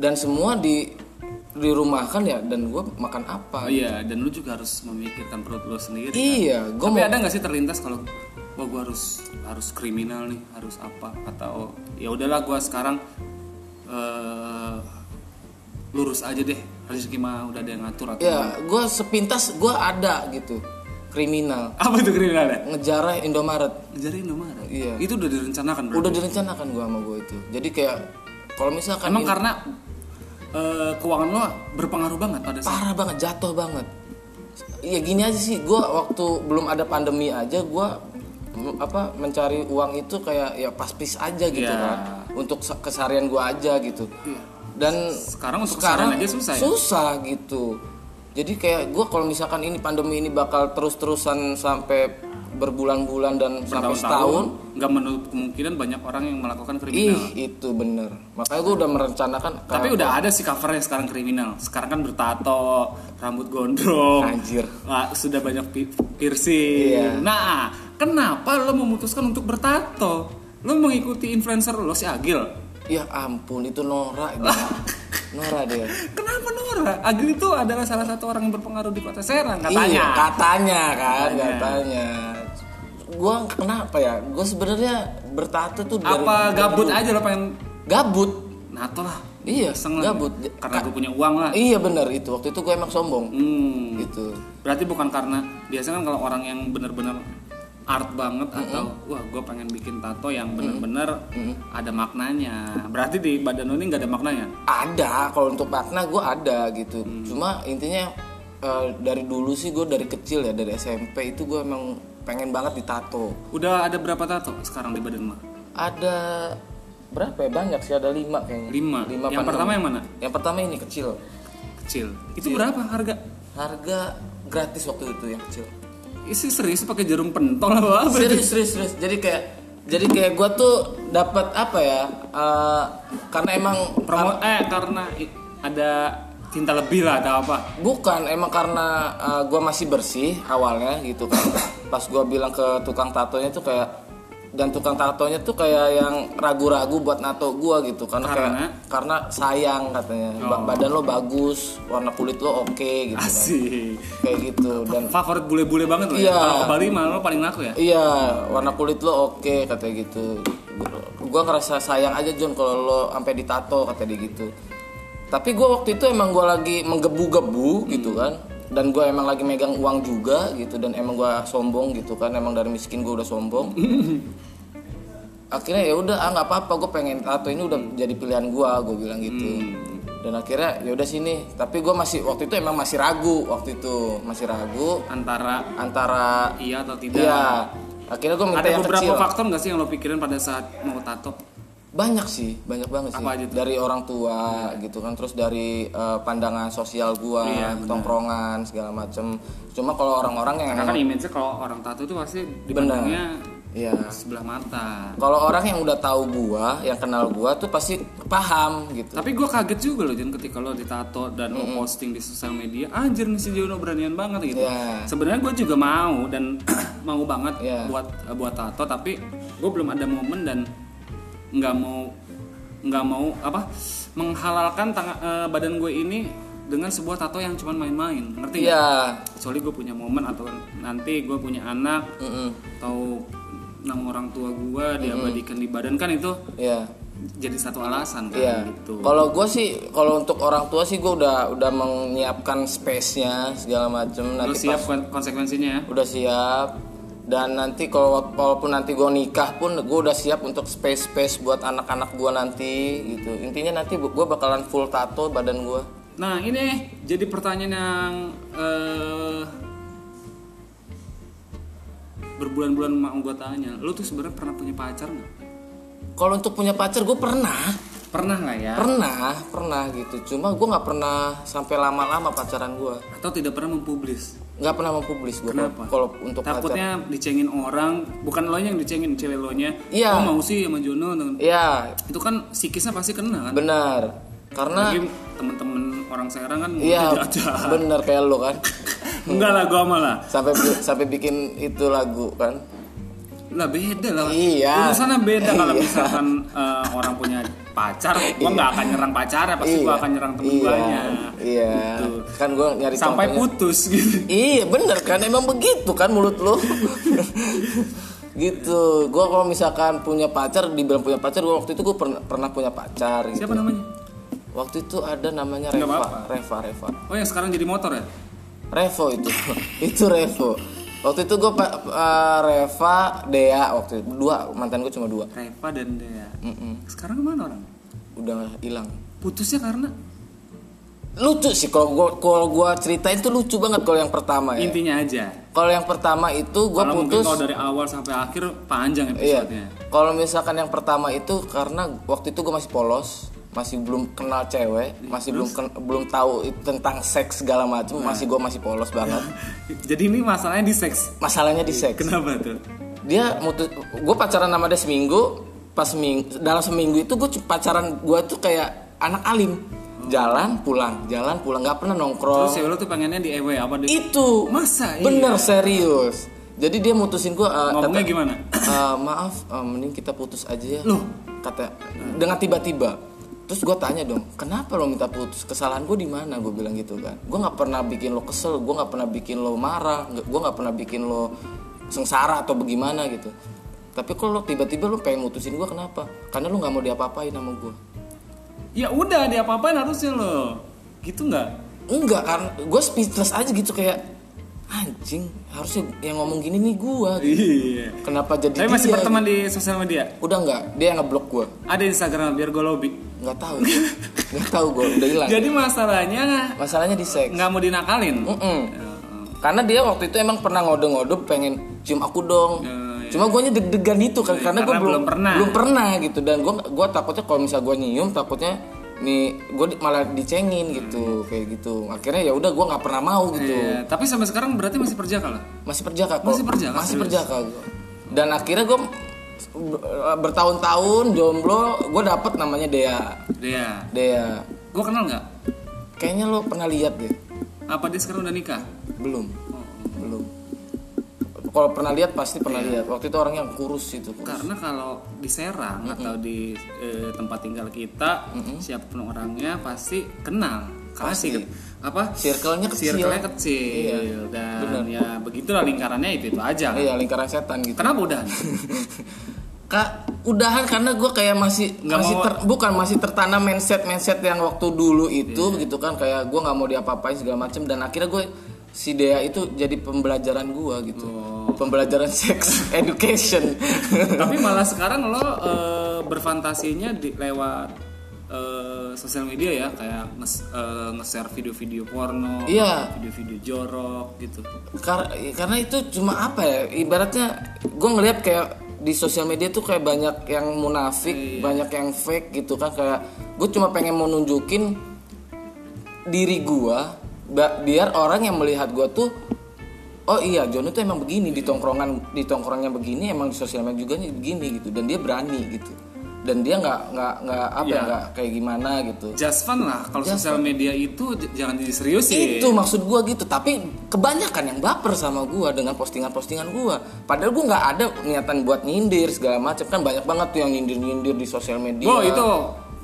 [SPEAKER 2] dan semua di di rumah kan ya dan gue makan apa
[SPEAKER 1] Oh iya, dan lu juga harus memikirkan perut lo sendiri. kan?
[SPEAKER 2] iya gue
[SPEAKER 1] Tapi
[SPEAKER 2] mau
[SPEAKER 1] ada nggak sih terlintas kalau wah gue harus harus kriminal nih, harus apa atau ya udahlah gue sekarang eh, lurus aja deh rezeki mah udah ada yang ngatur atau
[SPEAKER 2] ya gue sepintas gue ada gitu kriminal
[SPEAKER 1] apa itu ya? kriminalnya?
[SPEAKER 2] ngejarah Indomaret
[SPEAKER 1] Ngejarin Indomaret.
[SPEAKER 2] Iya.
[SPEAKER 1] Itu udah direncanakan berarti.
[SPEAKER 2] udah direncanakan gue sama gue itu jadi kayak kalau misalkan
[SPEAKER 1] Emang
[SPEAKER 2] ini-
[SPEAKER 1] karena eh, keuangan lo berpengaruh banget pada saat
[SPEAKER 2] parah banget jatuh banget ya gini aja sih gue waktu belum ada pandemi aja gue apa mencari uang itu kayak ya pas-pis aja gitu
[SPEAKER 1] Iya.
[SPEAKER 2] kan untuk se- keseharian gue aja gitu dan
[SPEAKER 1] sekarang untuk
[SPEAKER 2] Ah. sekarang
[SPEAKER 1] keseharian aja susah ya?
[SPEAKER 2] susah gitu jadi kayak gue kalau misalkan ini pandemi ini bakal terus-terusan sampai berbulan-bulan dan sampai setahun
[SPEAKER 1] nggak menutup kemungkinan banyak orang yang melakukan kriminal.
[SPEAKER 2] ih itu bener makanya gue udah merencanakan
[SPEAKER 1] Iya. Tapi udah ada sih covernya sekarang kriminal. Sekarang kan bertato, rambut gondrong,
[SPEAKER 2] Anjir.
[SPEAKER 1] Nah, sudah banyak pi- piercing.
[SPEAKER 2] Iya.
[SPEAKER 1] Nah, kenapa lo memutuskan untuk bertato? Lo mengikuti influencer lo si Agil.
[SPEAKER 2] ya ampun itu
[SPEAKER 1] <laughs>
[SPEAKER 2] norak dia norak dia
[SPEAKER 1] Kenapa Nora? Agil itu adalah salah satu orang yang berpengaruh di kota Serang
[SPEAKER 2] Iya,
[SPEAKER 1] katanya.
[SPEAKER 2] katanya kan,
[SPEAKER 1] Katanya.
[SPEAKER 2] katanya. Gua kenapa ya? Gue sebenarnya bertato tuh dari
[SPEAKER 1] Apa gabut aja lo pengen
[SPEAKER 2] gabut.
[SPEAKER 1] nato lah?
[SPEAKER 2] Iya,
[SPEAKER 1] Iseng lah.
[SPEAKER 2] gabut.
[SPEAKER 1] Karena gue punya uang lah.
[SPEAKER 2] Iya bener itu. Waktu itu gue emang sombong
[SPEAKER 1] Hmm.
[SPEAKER 2] gitu.
[SPEAKER 1] Berarti bukan karena biasanya kan kalau orang yang benar-benar art banget atau wah gue pengen bikin tato yang benar-benar ada maknanya. Berarti di badan lo ini nggak ada maknanya.
[SPEAKER 2] Ada kalau untuk makna gue ada gitu.
[SPEAKER 1] Hmm.
[SPEAKER 2] Cuma intinya eh, dari dulu sih gue dari kecil ya dari SMP itu gue emang pengen banget ditato.
[SPEAKER 1] Udah ada berapa tato sekarang di badan lo?
[SPEAKER 2] Ada berapa ya banyak sih ada lima kayaknya.
[SPEAKER 1] Lima.
[SPEAKER 2] Lima
[SPEAKER 1] yang
[SPEAKER 2] apa
[SPEAKER 1] pertama
[SPEAKER 2] enam?
[SPEAKER 1] yang mana?
[SPEAKER 2] Yang pertama ini kecil.
[SPEAKER 1] Kecil. Itu
[SPEAKER 2] Iya.
[SPEAKER 1] berapa harga?
[SPEAKER 2] Harga gratis waktu itu yang kecil.
[SPEAKER 1] Isi serius pakai jarum pentol apa? apa?
[SPEAKER 2] serius serius serius jadi kayak jadi kayak gue tuh dapat apa ya eh, karena emang
[SPEAKER 1] Promo eh karena i- ada cinta lebih lah atau apa?
[SPEAKER 2] bukan emang karena gue masih bersih awalnya gitu kan pas gue bilang ke tukang tatonya tuh kayak dan tukang tatonya tuh kayak yang ragu-ragu buat nato gue gitu karena, kayak-
[SPEAKER 1] Karena?
[SPEAKER 2] karena sayang katanya Ba- badan lo bagus warna kulit lo oke gitu kan.
[SPEAKER 1] Asik.
[SPEAKER 2] kayak gitu dan
[SPEAKER 1] Favorit bule-bule banget loh.
[SPEAKER 2] Iya.
[SPEAKER 1] Ya? Kalau ke Bali malah lo paling laku ya.
[SPEAKER 2] Iya, warna kulit lo oke katanya gitu. Gua ngerasa sayang aja John kalau lo sampai ditato kata dia gitu. Tapi gua waktu itu emang gua lagi menggebu-gebu gitu kan. Dan gua emang lagi megang uang juga gitu dan emang gua sombong gitu kan. Emang dari miskin gua udah sombong. akhirnya ya udah ah nggak apa-apa gue pengen tato ini udah jadi pilihan gua gue bilang gitu dan akhirnya ya udah sini tapi gua masih waktu itu emang masih ragu waktu itu masih ragu
[SPEAKER 1] Antara
[SPEAKER 2] antara
[SPEAKER 1] iya atau tidak.
[SPEAKER 2] Iya. Akhirnya gue minta
[SPEAKER 1] Ada
[SPEAKER 2] yang
[SPEAKER 1] beberapa
[SPEAKER 2] kecil.
[SPEAKER 1] faktor nggak sih yang lo pikirin pada saat mau tato?
[SPEAKER 2] Banyak sih, banyak banget sih.
[SPEAKER 1] Apa aja
[SPEAKER 2] Dari orang tua gitu kan, terus dari eh, pandangan sosial gua,
[SPEAKER 1] Iya,
[SPEAKER 2] tongkrongan segala macem. Cuma kalau orang-orang yang
[SPEAKER 1] Karena kan
[SPEAKER 2] emang,
[SPEAKER 1] image kalau orang tato itu pasti dipandangnya
[SPEAKER 2] iya.
[SPEAKER 1] sebelah mata.
[SPEAKER 2] Kalau orang yang udah tahu gua, yang kenal gua tuh pasti paham gitu.
[SPEAKER 1] Tapi gue kaget juga loh Jen ketika lo ditato dan lo posting di sosial media Anjir nih si Jono beranian banget gitu
[SPEAKER 2] Ya.
[SPEAKER 1] Sebenarnya gue juga mau dan <clears throat> mau banget
[SPEAKER 2] Iya.
[SPEAKER 1] buat eh, buat tato Tapi gue belum ada momen dan nggak mau nggak mau apa menghalalkan tang- eh, badan gue ini dengan sebuah tato yang cuman main-main ngerti nggak?
[SPEAKER 2] Iya.
[SPEAKER 1] kecuali gue punya momen atau nanti gue punya anak
[SPEAKER 2] Mm-mm.
[SPEAKER 1] atau nama orang tua gue diabadikan di badan kan itu
[SPEAKER 2] Iya.
[SPEAKER 1] jadi satu alasan kan
[SPEAKER 2] Iya.
[SPEAKER 1] gitu
[SPEAKER 2] Kalau gue sih, kalau untuk orang tua sih gue udah udah menyiapkan space-nya segala macem.
[SPEAKER 1] lo
[SPEAKER 2] Nanti
[SPEAKER 1] siap kon- konsekuensinya ya
[SPEAKER 2] udah siap dan nanti kalau walaupun nanti gue nikah pun gue udah siap untuk space space buat anak-anak gue nanti gitu intinya nanti gue bakalan full tato badan gue
[SPEAKER 1] Nah ini jadi pertanyaan yang eh, berbulan-bulan mau gue tanya, lu tuh sebenarnya pernah punya pacar nggak?
[SPEAKER 2] kalau untuk punya pacar gue pernah
[SPEAKER 1] Pernah lah ya.
[SPEAKER 2] pernah pernah gitu cuma gue nggak pernah sampai lama-lama pacaran gue
[SPEAKER 1] Atau tidak pernah mempublis?
[SPEAKER 2] nggak pernah mempublis gue
[SPEAKER 1] Kenapa?
[SPEAKER 2] kalau untuk pacar
[SPEAKER 1] Takutnya dicengin orang, bukan lo yang dicengin, cewek lo nya.
[SPEAKER 2] Iya.
[SPEAKER 1] Oh, mau sih sama Jono. dengan-
[SPEAKER 2] iya
[SPEAKER 1] Itu kan psikisnya pasti kena kan.
[SPEAKER 2] benar karena
[SPEAKER 1] Lagi temen-temen orang Serang kan <laughs>
[SPEAKER 2] iya
[SPEAKER 1] jahat-jahat.
[SPEAKER 2] benar kayak lo kan
[SPEAKER 1] Enggak lah gue malah.
[SPEAKER 2] sampai sampai bikin itu lagu kan
[SPEAKER 1] lah beda lah
[SPEAKER 2] Iya.
[SPEAKER 1] urusannya beda kalau misalkan eh, orang punya pacar gua nggak akan nyerang pacarnya pasti gua akan nyerang temen
[SPEAKER 2] iya,
[SPEAKER 1] guanya
[SPEAKER 2] Iya.
[SPEAKER 1] Gitu.
[SPEAKER 2] Kan gue nyari
[SPEAKER 1] sampai
[SPEAKER 2] contohnya.
[SPEAKER 1] putus gitu
[SPEAKER 2] Iya bener kan emang begitu kan mulut lo. <laughs> gitu. Gue kalau misalkan punya pacar, dibilang punya pacar, gue waktu itu gue pernah pernah punya pacar. Gitu.
[SPEAKER 1] siapa namanya
[SPEAKER 2] Waktu itu ada namanya
[SPEAKER 1] Nggak
[SPEAKER 2] Reva,
[SPEAKER 1] apa-apa.
[SPEAKER 2] Reva, Reva.
[SPEAKER 1] oh yang sekarang jadi motor ya
[SPEAKER 2] Revo itu, <laughs> itu Revo. Waktu itu gue Reva, Dea waktu itu dua mantan gue cuma dua.
[SPEAKER 1] Reva dan Dea
[SPEAKER 2] Mm-mm.
[SPEAKER 1] sekarang kemana orang
[SPEAKER 2] Udah hilang.
[SPEAKER 1] putusnya karena
[SPEAKER 2] Lucu sih kalau gue kalau gua ceritain tuh lucu banget kalau yang pertama ya.
[SPEAKER 1] intinya aja
[SPEAKER 2] Kalau yang pertama itu gue
[SPEAKER 1] kalau mungkin
[SPEAKER 2] putus.
[SPEAKER 1] kalau dari awal sampai akhir panjang
[SPEAKER 2] Iya.
[SPEAKER 1] episodenya
[SPEAKER 2] Kalau misalkan yang pertama itu karena waktu itu gue masih polos, masih belum kenal cewek, masih belum ken- belum tahu it- tentang seks segala macam,
[SPEAKER 1] Nah.
[SPEAKER 2] masih gue masih polos
[SPEAKER 1] Iya.
[SPEAKER 2] banget.
[SPEAKER 1] jadi ini masalahnya di seks
[SPEAKER 2] Masalahnya di seks.
[SPEAKER 1] kenapa tuh
[SPEAKER 2] Dia mutus, gue pacaran sama dia seminggu, pas seminggu, dalam seminggu itu gue pacaran gue tuh kayak anak alim, jalan pulang, jalan pulang, nggak pernah
[SPEAKER 1] Hmm. terus
[SPEAKER 2] nongkrong.
[SPEAKER 1] cewek lo tuh pengennya di EW apa
[SPEAKER 2] Iya,
[SPEAKER 1] di
[SPEAKER 2] Itu
[SPEAKER 1] Masa? Iya.
[SPEAKER 2] bener serius. Jadi dia mutusin gue.
[SPEAKER 1] ngomongnya gimana
[SPEAKER 2] Eh, maaf eh, mending kita putus aja ya
[SPEAKER 1] Loh?
[SPEAKER 2] kata dengan tiba-tiba terus gue tanya dong kenapa lo minta putus kesalahan gue di mana gue bilang gitu kan gue nggak pernah bikin lo kesel gue nggak pernah bikin lo marah nggak- gue nggak pernah bikin lo sengsara atau bagaimana gitu tapi kalau lo tiba-tiba lo pengen mutusin gue kenapa karena lo nggak mau diapa-apain sama gue
[SPEAKER 1] ya udah dia apa-apain harusnya lo gitu nggak
[SPEAKER 2] enggak karena gue speechless aja gitu kayak anjing harusnya yang ngomong gini nih gue
[SPEAKER 1] Iya.
[SPEAKER 2] kenapa jadi
[SPEAKER 1] Tapi masih
[SPEAKER 2] dia?"
[SPEAKER 1] berteman di sosial media.
[SPEAKER 2] udah nggak dia yang ngeblok gue
[SPEAKER 1] Ada Instagram biar gue lobby.
[SPEAKER 2] nggak tahu nggak tahu gue udah hilang
[SPEAKER 1] Jadi masalahnya
[SPEAKER 2] masalahnya di seks
[SPEAKER 1] nggak mau dinakalin.
[SPEAKER 2] Mm-mm. karena dia waktu itu emang pernah ngode-ngode pengen cium aku dong
[SPEAKER 1] Ya,
[SPEAKER 2] cuma gue deg-degan itu kan karena, gue
[SPEAKER 1] karena
[SPEAKER 2] belum
[SPEAKER 1] belum pernah.
[SPEAKER 2] belum pernah gitu dan gue gua takutnya kalau misal gue nyium takutnya nih gue malah dicengin gitu
[SPEAKER 1] Hmm.
[SPEAKER 2] kayak gitu akhirnya ya udah gue nggak pernah mau gitu
[SPEAKER 1] Iya, tapi sampai sekarang berarti masih perjaka lah.
[SPEAKER 2] masih perjaka kok
[SPEAKER 1] Masih perjaka,
[SPEAKER 2] masih
[SPEAKER 1] serius?
[SPEAKER 2] perjaka gua. dan akhirnya gue bertahun-tahun jomblo gue dapet namanya Dea
[SPEAKER 1] Dea,
[SPEAKER 2] Dea
[SPEAKER 1] gue Iya. kenal nggak?
[SPEAKER 2] kayaknya lo pernah lihat deh
[SPEAKER 1] Apa dia sekarang udah nikah?
[SPEAKER 2] belum
[SPEAKER 1] Oh,
[SPEAKER 2] belum kalau pernah lihat pasti pernah
[SPEAKER 1] Iya.
[SPEAKER 2] lihat waktu itu orangnya kurus itu kurus.
[SPEAKER 1] karena kalau di Serang atau di eh, tempat tinggal kita, siapapun orangnya pasti kenal. Karena
[SPEAKER 2] Pasti.
[SPEAKER 1] sih apa?
[SPEAKER 2] Circle-nya kecil.
[SPEAKER 1] Circle-nya kecil. Dan ya begitulah lingkarannya itu itu aja.
[SPEAKER 2] iya lingkaran setan gitu
[SPEAKER 1] Kenapa udah?
[SPEAKER 2] <laughs> kak udahan karena gue kayak masih
[SPEAKER 1] Nggak
[SPEAKER 2] masih
[SPEAKER 1] mau-
[SPEAKER 2] ter- bukan masih tertanam mindset mindset yang waktu dulu itu
[SPEAKER 1] Iya.
[SPEAKER 2] gitu kan kayak gue nggak mau diapa-apain segala macem dan akhirnya gue si Dea itu jadi pembelajaran gue gitu
[SPEAKER 1] Oh.
[SPEAKER 2] pembelajaran <laughs> sex education
[SPEAKER 1] tapi malah sekarang lo eh, berfantasinya di, lewat eh, sosial media ya kayak nge- eh, nge-share video-video porno,
[SPEAKER 2] Iya.
[SPEAKER 1] video-video jorok gitu.
[SPEAKER 2] Kar- karena itu cuma apa ya ibaratnya gue ngeliat kayak di sosial media tuh kayak banyak yang munafik banyak yang fake gitu kan kayak gue cuma pengen mau nunjukin diri gue biar orang yang melihat gue tuh oh iya Jono tuh emang begini di tongkrongan di tongkrongnya begini emang di sosial media juga nih begini gitu dan dia berani gitu dan dia nggak nggak nggak apa ya,
[SPEAKER 1] Iya.
[SPEAKER 2] nggak kayak gimana gitu
[SPEAKER 1] Just fun lah kalau sosial media itu j- jangan diseriusin.
[SPEAKER 2] itu maksud gua gitu tapi kebanyakan yang baper sama gua dengan postingan-postingan gua padahal gua nggak ada niatan buat nyindir segala macam kan banyak banget tuh yang nyindir-nyindir di sosial media
[SPEAKER 1] Bro, Oh, itu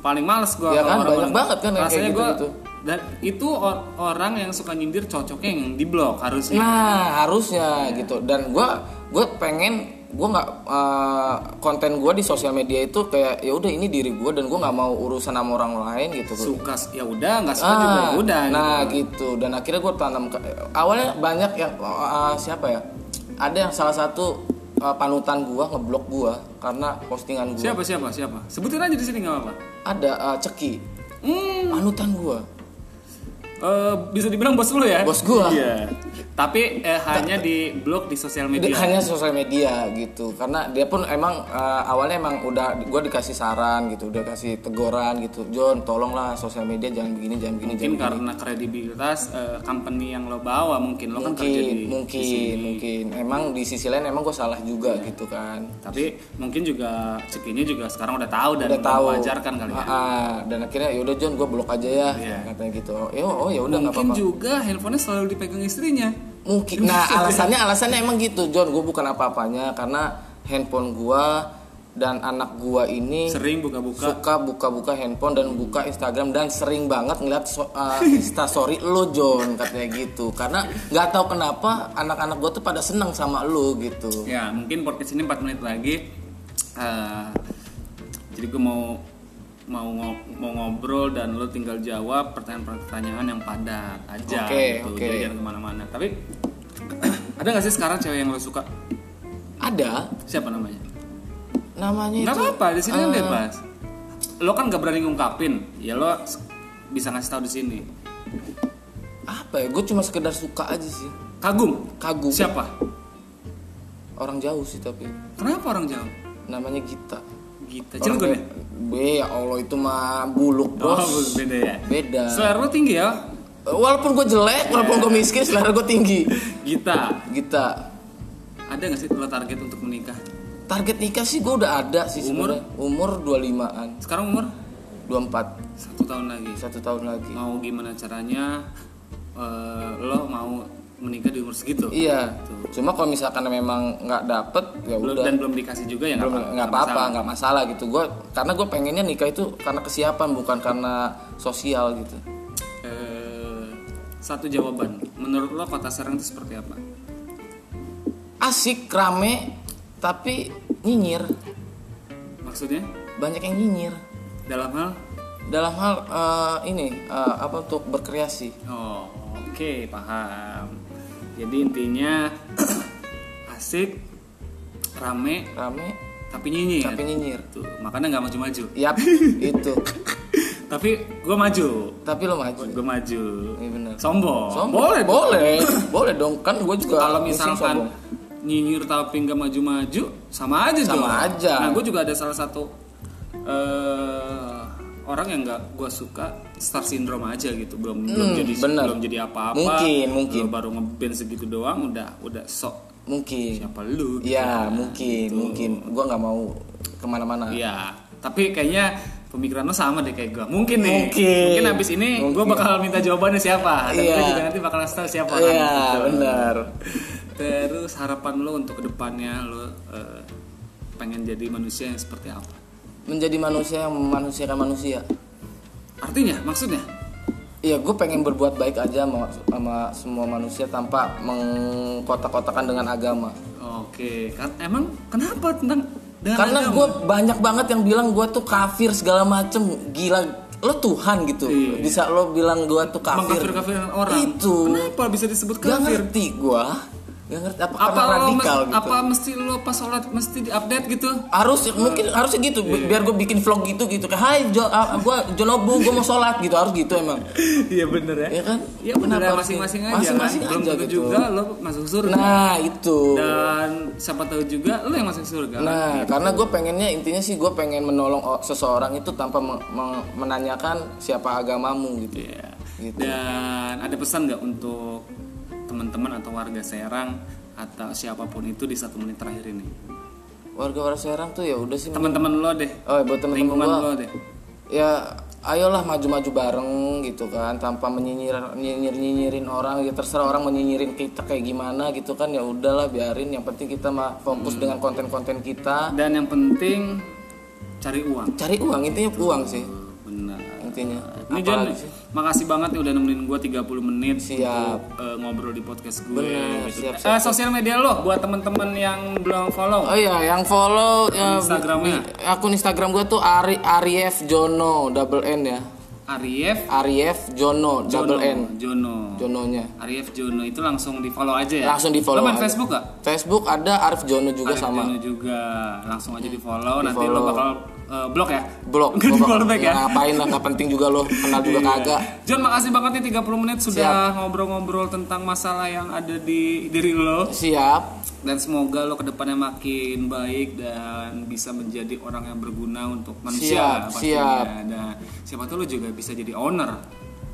[SPEAKER 1] paling males gue
[SPEAKER 2] Ya kan, banyak banget kan yang kayak
[SPEAKER 1] rasanya gue
[SPEAKER 2] gitu-gitu.
[SPEAKER 1] dan itu or- orang yang suka nyindir cocoknya yang di blok harusnya
[SPEAKER 2] Nah, harusnya gitu. Dan gua gua pengen gua nggak eh, konten gua di sosial media itu kayak ya udah ini diri gua dan gua nggak mau urusan sama orang lain gitu.
[SPEAKER 1] suka ya udah nggak suka
[SPEAKER 2] Ah,
[SPEAKER 1] juga ya udah
[SPEAKER 2] Nah,
[SPEAKER 1] gitu.
[SPEAKER 2] gitu. Dan akhirnya gua tanam ke- awalnya banyak yang eh, siapa ya? Ada yang salah satu eh, panutan gua ngeblok gua karena postingan gua.
[SPEAKER 1] siapa siapa siapa sebutin aja di sini nggak apa-apa
[SPEAKER 2] Ada eh, Ceki.
[SPEAKER 1] Hmm,
[SPEAKER 2] Panutan gua.
[SPEAKER 1] eh, bisa dibilang bos lu ya
[SPEAKER 2] Bos gua.
[SPEAKER 1] iya tapi eh, hanya di blok di sosial
[SPEAKER 2] Di-
[SPEAKER 1] media
[SPEAKER 2] hanya sosial media gitu karena dia pun emang eh, awalnya emang udah gue dikasih saran gitu udah kasih teguran gitu John tolonglah sosial media jangan begini jangan begini
[SPEAKER 1] mungkin
[SPEAKER 2] jangan
[SPEAKER 1] karena kredibilitas eh, company yang lo bawa mungkin lo kan
[SPEAKER 2] begini.
[SPEAKER 1] kerja
[SPEAKER 2] mungkin
[SPEAKER 1] di
[SPEAKER 2] mungkin mungkin emang di sisi lain emang gue salah juga gitu kan
[SPEAKER 1] tapi mungkin juga cekinya juga sekarang udah tahu dan
[SPEAKER 2] udah tahu
[SPEAKER 1] mewajarkan kali ya
[SPEAKER 2] Ah, ah. dan akhirnya yaudah John gue blok aja ya
[SPEAKER 1] Iya.
[SPEAKER 2] katanya gitu ya oh ya udah nggak
[SPEAKER 1] mungkin
[SPEAKER 2] apa-apa
[SPEAKER 1] juga handphonenya selalu dipegang istrinya
[SPEAKER 2] mungkin nah alasannya alasannya emang gitu John gue bukan apa-apanya karena handphone gue dan anak gue ini
[SPEAKER 1] sering buka-buka
[SPEAKER 2] suka buka-buka handphone dan buka Instagram dan sering banget ngeliat so, uh, instastory lo John katanya gitu karena nggak tahu kenapa anak-anak gue tuh pada seneng sama lo gitu
[SPEAKER 1] ya mungkin podcast ini 4 menit lagi Eh, jadi gue mau mau ngo- mau ngobrol dan lo tinggal jawab pertanyaan-pertanyaan yang padat aja
[SPEAKER 2] Oke,
[SPEAKER 1] gitu
[SPEAKER 2] oke.
[SPEAKER 1] jadi jangan kemana-mana tapi <clears throat> ada nggak sih sekarang cewek yang lo suka
[SPEAKER 2] ada
[SPEAKER 1] siapa namanya
[SPEAKER 2] namanya
[SPEAKER 1] nggak
[SPEAKER 2] itu
[SPEAKER 1] apa-apa di sini kan
[SPEAKER 2] eh,
[SPEAKER 1] bebas lo kan nggak berani ngungkapin ya lo s- bisa ngasih tahu di sini
[SPEAKER 2] apa ya gue cuma sekedar suka aja sih
[SPEAKER 1] kagum
[SPEAKER 2] kagum
[SPEAKER 1] siapa
[SPEAKER 2] orang jauh sih tapi
[SPEAKER 1] kenapa orang jauh
[SPEAKER 2] namanya Gita
[SPEAKER 1] Gita
[SPEAKER 2] Orang
[SPEAKER 1] Cilegon ya
[SPEAKER 2] Be- Be, ya Allah itu mah buluk
[SPEAKER 1] oh
[SPEAKER 2] bos
[SPEAKER 1] beda ya
[SPEAKER 2] beda
[SPEAKER 1] selera lo tinggi ya
[SPEAKER 2] walaupun gue jelek walaupun gue miskin selera gue tinggi
[SPEAKER 1] Gita
[SPEAKER 2] Gita
[SPEAKER 1] ada nggak sih lo target untuk menikah
[SPEAKER 2] Target nikah sih gue udah ada sih
[SPEAKER 1] Umur?
[SPEAKER 2] sebenarnya. Umur 25-an,
[SPEAKER 1] sekarang umur
[SPEAKER 2] 24,
[SPEAKER 1] satu tahun lagi
[SPEAKER 2] satu tahun lagi.
[SPEAKER 1] mau gimana caranya eh, lo mau menikah di umur segitu
[SPEAKER 2] Iya. Cuma kalau misalkan memang nggak dapet ya
[SPEAKER 1] Belum-
[SPEAKER 2] udah
[SPEAKER 1] dan belum dikasih juga ya nggak
[SPEAKER 2] belum
[SPEAKER 1] apa-
[SPEAKER 2] nggak apa-apa nggak masalah gitu gue karena gue pengennya nikah itu karena kesiapan bukan karena sosial gitu
[SPEAKER 1] Eh, satu jawaban menurut lo kota Serang itu seperti apa
[SPEAKER 2] asik rame tapi nyinyir
[SPEAKER 1] maksudnya
[SPEAKER 2] banyak yang nyinyir
[SPEAKER 1] dalam hal
[SPEAKER 2] dalam hal eh, ini eh, apa untuk berkreasi
[SPEAKER 1] oh oke paham jadi intinya <clears throat> asik rame
[SPEAKER 2] rame
[SPEAKER 1] tapi nyinyir
[SPEAKER 2] tapi nyinyir
[SPEAKER 1] Tuh, makanya nggak maju-maju <clears throat>
[SPEAKER 2] yap itu
[SPEAKER 1] tapi gue maju
[SPEAKER 2] tapi lo maju
[SPEAKER 1] gue maju
[SPEAKER 2] Iya benar.
[SPEAKER 1] sombong.
[SPEAKER 2] Sombong.
[SPEAKER 1] boleh dong.
[SPEAKER 2] boleh, boleh dong kan gue juga
[SPEAKER 1] kalau
[SPEAKER 2] musim
[SPEAKER 1] misalkan
[SPEAKER 2] sombong.
[SPEAKER 1] nyinyir tapi nggak maju-maju sama aja
[SPEAKER 2] Sama
[SPEAKER 1] dong
[SPEAKER 2] aja.
[SPEAKER 1] nah gue juga ada salah satu eh, orang yang nggak gue suka star syndrome aja gitu belum belum
[SPEAKER 2] Hmm,
[SPEAKER 1] jadi
[SPEAKER 2] bener.
[SPEAKER 1] belum jadi apa-apa
[SPEAKER 2] Mungkin, mungkin.
[SPEAKER 1] Lu baru ngeband segitu doang udah udah sok
[SPEAKER 2] mungkin,
[SPEAKER 1] siapa lu Gitu.
[SPEAKER 2] ya mungkin, mungkin gue nggak mau kemana-mana.
[SPEAKER 1] Iya, tapi kayaknya pemikiran lo sama deh kayak gue. Mungkin nih.
[SPEAKER 2] Mungkin.
[SPEAKER 1] Mungkin abis ini gue
[SPEAKER 2] Mungkin.
[SPEAKER 1] bakal minta jawabannya siapa. Dan
[SPEAKER 2] Iya.
[SPEAKER 1] gue juga nanti bakal ngasih tau siapa. kan.
[SPEAKER 2] Iya
[SPEAKER 1] Gitu.
[SPEAKER 2] benar.
[SPEAKER 1] Terus harapan lo untuk kedepannya lo eh, pengen jadi manusia yang seperti apa?
[SPEAKER 2] Menjadi manusia yang memanusiakan manusia.
[SPEAKER 1] Artinya, maksudnya?
[SPEAKER 2] Iya gue pengen berbuat baik aja sama, sama semua manusia tanpa mengkotak-kotakan dengan agama.
[SPEAKER 1] Oke, kan emang kenapa tentang dengan
[SPEAKER 2] Karena
[SPEAKER 1] agama?
[SPEAKER 2] gue banyak banget yang bilang gue tuh kafir segala macem, gila lo Tuhan gitu.
[SPEAKER 1] Iya.
[SPEAKER 2] Bisa lo bilang gue tuh kafir.
[SPEAKER 1] mengkafir-kafiran orang.
[SPEAKER 2] Itu.
[SPEAKER 1] Kenapa bisa disebut
[SPEAKER 2] Gak
[SPEAKER 1] kafir?
[SPEAKER 2] ngerti gua Gak ngerti apa,
[SPEAKER 1] Apa
[SPEAKER 2] karena
[SPEAKER 1] lo mes-
[SPEAKER 2] radikal gitu
[SPEAKER 1] apa mesti lo pas sholat mesti diupdate
[SPEAKER 2] <laughs>
[SPEAKER 1] gitu?
[SPEAKER 2] harus mungkin harusnya gitu bi-
[SPEAKER 1] Iya.
[SPEAKER 2] biar gue bikin vlog gitu gitu kayak hai jo, ah, gua Jonobu gue mau sholat gitu harus gitu emang
[SPEAKER 1] Iya bener ya.
[SPEAKER 2] ya kan
[SPEAKER 1] Ya benar
[SPEAKER 2] Kenapa harus
[SPEAKER 1] masing-masing
[SPEAKER 2] gitu?
[SPEAKER 1] aja
[SPEAKER 2] masing-masing
[SPEAKER 1] kan? Belum
[SPEAKER 2] aja
[SPEAKER 1] tentu
[SPEAKER 2] gitu
[SPEAKER 1] juga lo masuk surga
[SPEAKER 2] nah itu
[SPEAKER 1] dan siapa tahu juga lo yang masuk surga.
[SPEAKER 2] nah karena gue pengennya intinya sih gue pengen menolong o- seseorang itu tanpa meng- meng- menanyakan siapa agamamu gitu
[SPEAKER 1] Iya.
[SPEAKER 2] Gitu.
[SPEAKER 1] Dan ada pesan nggak untuk teman-teman atau warga Serang atau siapapun itu di satu menit terakhir ini?
[SPEAKER 2] warga-warga Serang tuh ya udah sih
[SPEAKER 1] Teman-teman lo deh,
[SPEAKER 2] oh buat temen-temen
[SPEAKER 1] lingkungan
[SPEAKER 2] gue
[SPEAKER 1] lo deh.
[SPEAKER 2] ya ayolah maju-maju bareng gitu kan tanpa menyinyir nyinyir nyinyirin orang ya terserah orang menyinyirin kita kayak gimana gitu kan ya udahlah biarin yang penting kita mah fokus dengan konten-konten kita
[SPEAKER 1] Dan yang penting cari uang.
[SPEAKER 2] cari uang intinya uang sih intinya.
[SPEAKER 1] Ini
[SPEAKER 2] Apa
[SPEAKER 1] Jan,
[SPEAKER 2] lagi sih?
[SPEAKER 1] makasih banget nih udah nemenin gue 30 menit
[SPEAKER 2] Siap.
[SPEAKER 1] untuk, eh, ngobrol di podcast gue.
[SPEAKER 2] Bener,
[SPEAKER 1] gitu.
[SPEAKER 2] siap,
[SPEAKER 1] Eh,
[SPEAKER 2] siap,
[SPEAKER 1] sosial media lo buat temen-temen yang belum follow.
[SPEAKER 2] Oh iya, yang follow ya,
[SPEAKER 1] Instagramnya
[SPEAKER 2] akun Instagram gue tuh Ari Arief Jono double N ya.
[SPEAKER 1] Arief
[SPEAKER 2] Arief Jono double N
[SPEAKER 1] Jono.
[SPEAKER 2] Jononya.
[SPEAKER 1] Arief Jono itu langsung di follow aja ya.
[SPEAKER 2] Langsung di-follow
[SPEAKER 1] Lo main
[SPEAKER 2] aja.
[SPEAKER 1] Facebook gak?
[SPEAKER 2] Facebook ada Arif Jono juga
[SPEAKER 1] Arief
[SPEAKER 2] sama. Iya.
[SPEAKER 1] Jono juga langsung aja di follow. Nanti lo
[SPEAKER 2] Di-follow.
[SPEAKER 1] bakal eh, blok ya.
[SPEAKER 2] Blok.
[SPEAKER 1] Nggak di
[SPEAKER 2] Gua bakal-
[SPEAKER 1] follow back ya. Iya.
[SPEAKER 2] Ngapain lah, nggak penting juga lo, kenal juga kagak.
[SPEAKER 1] John makasih banget nih 30 menit sudah ngobrol-ngobrol tentang masalah yang ada di diri lo.
[SPEAKER 2] Siap.
[SPEAKER 1] dan semoga lo kedepannya makin baik dan bisa menjadi orang yang berguna untuk manusia
[SPEAKER 2] Siap, siap.
[SPEAKER 1] dan siapa tahu lo juga bisa jadi owner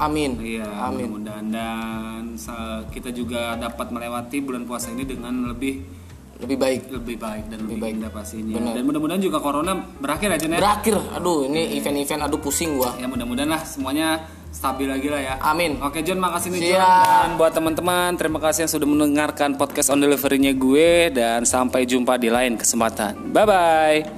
[SPEAKER 2] Amin.
[SPEAKER 1] iya
[SPEAKER 2] Amin.
[SPEAKER 1] mudah-mudahan dan sa- kita juga dapat melewati bulan puasa ini dengan lebih
[SPEAKER 2] Lebih baik.
[SPEAKER 1] lebih baik dan lebih,
[SPEAKER 2] baik.
[SPEAKER 1] indah pastinya
[SPEAKER 2] Benar.
[SPEAKER 1] dan mudah-mudahan juga corona berakhir aja Jen, ya
[SPEAKER 2] Berakhir. Aduh, ini event-event aduh pusing gua.
[SPEAKER 1] ya mudah-mudahan lah semuanya stabil lagi lah ya
[SPEAKER 2] Amin.
[SPEAKER 1] Oke John, makasih nih John.
[SPEAKER 2] Siap.
[SPEAKER 1] Dan buat teman-teman, terima kasih yang sudah mendengarkan podcast on delivery-nya gue dan sampai jumpa di lain kesempatan. Bye bye.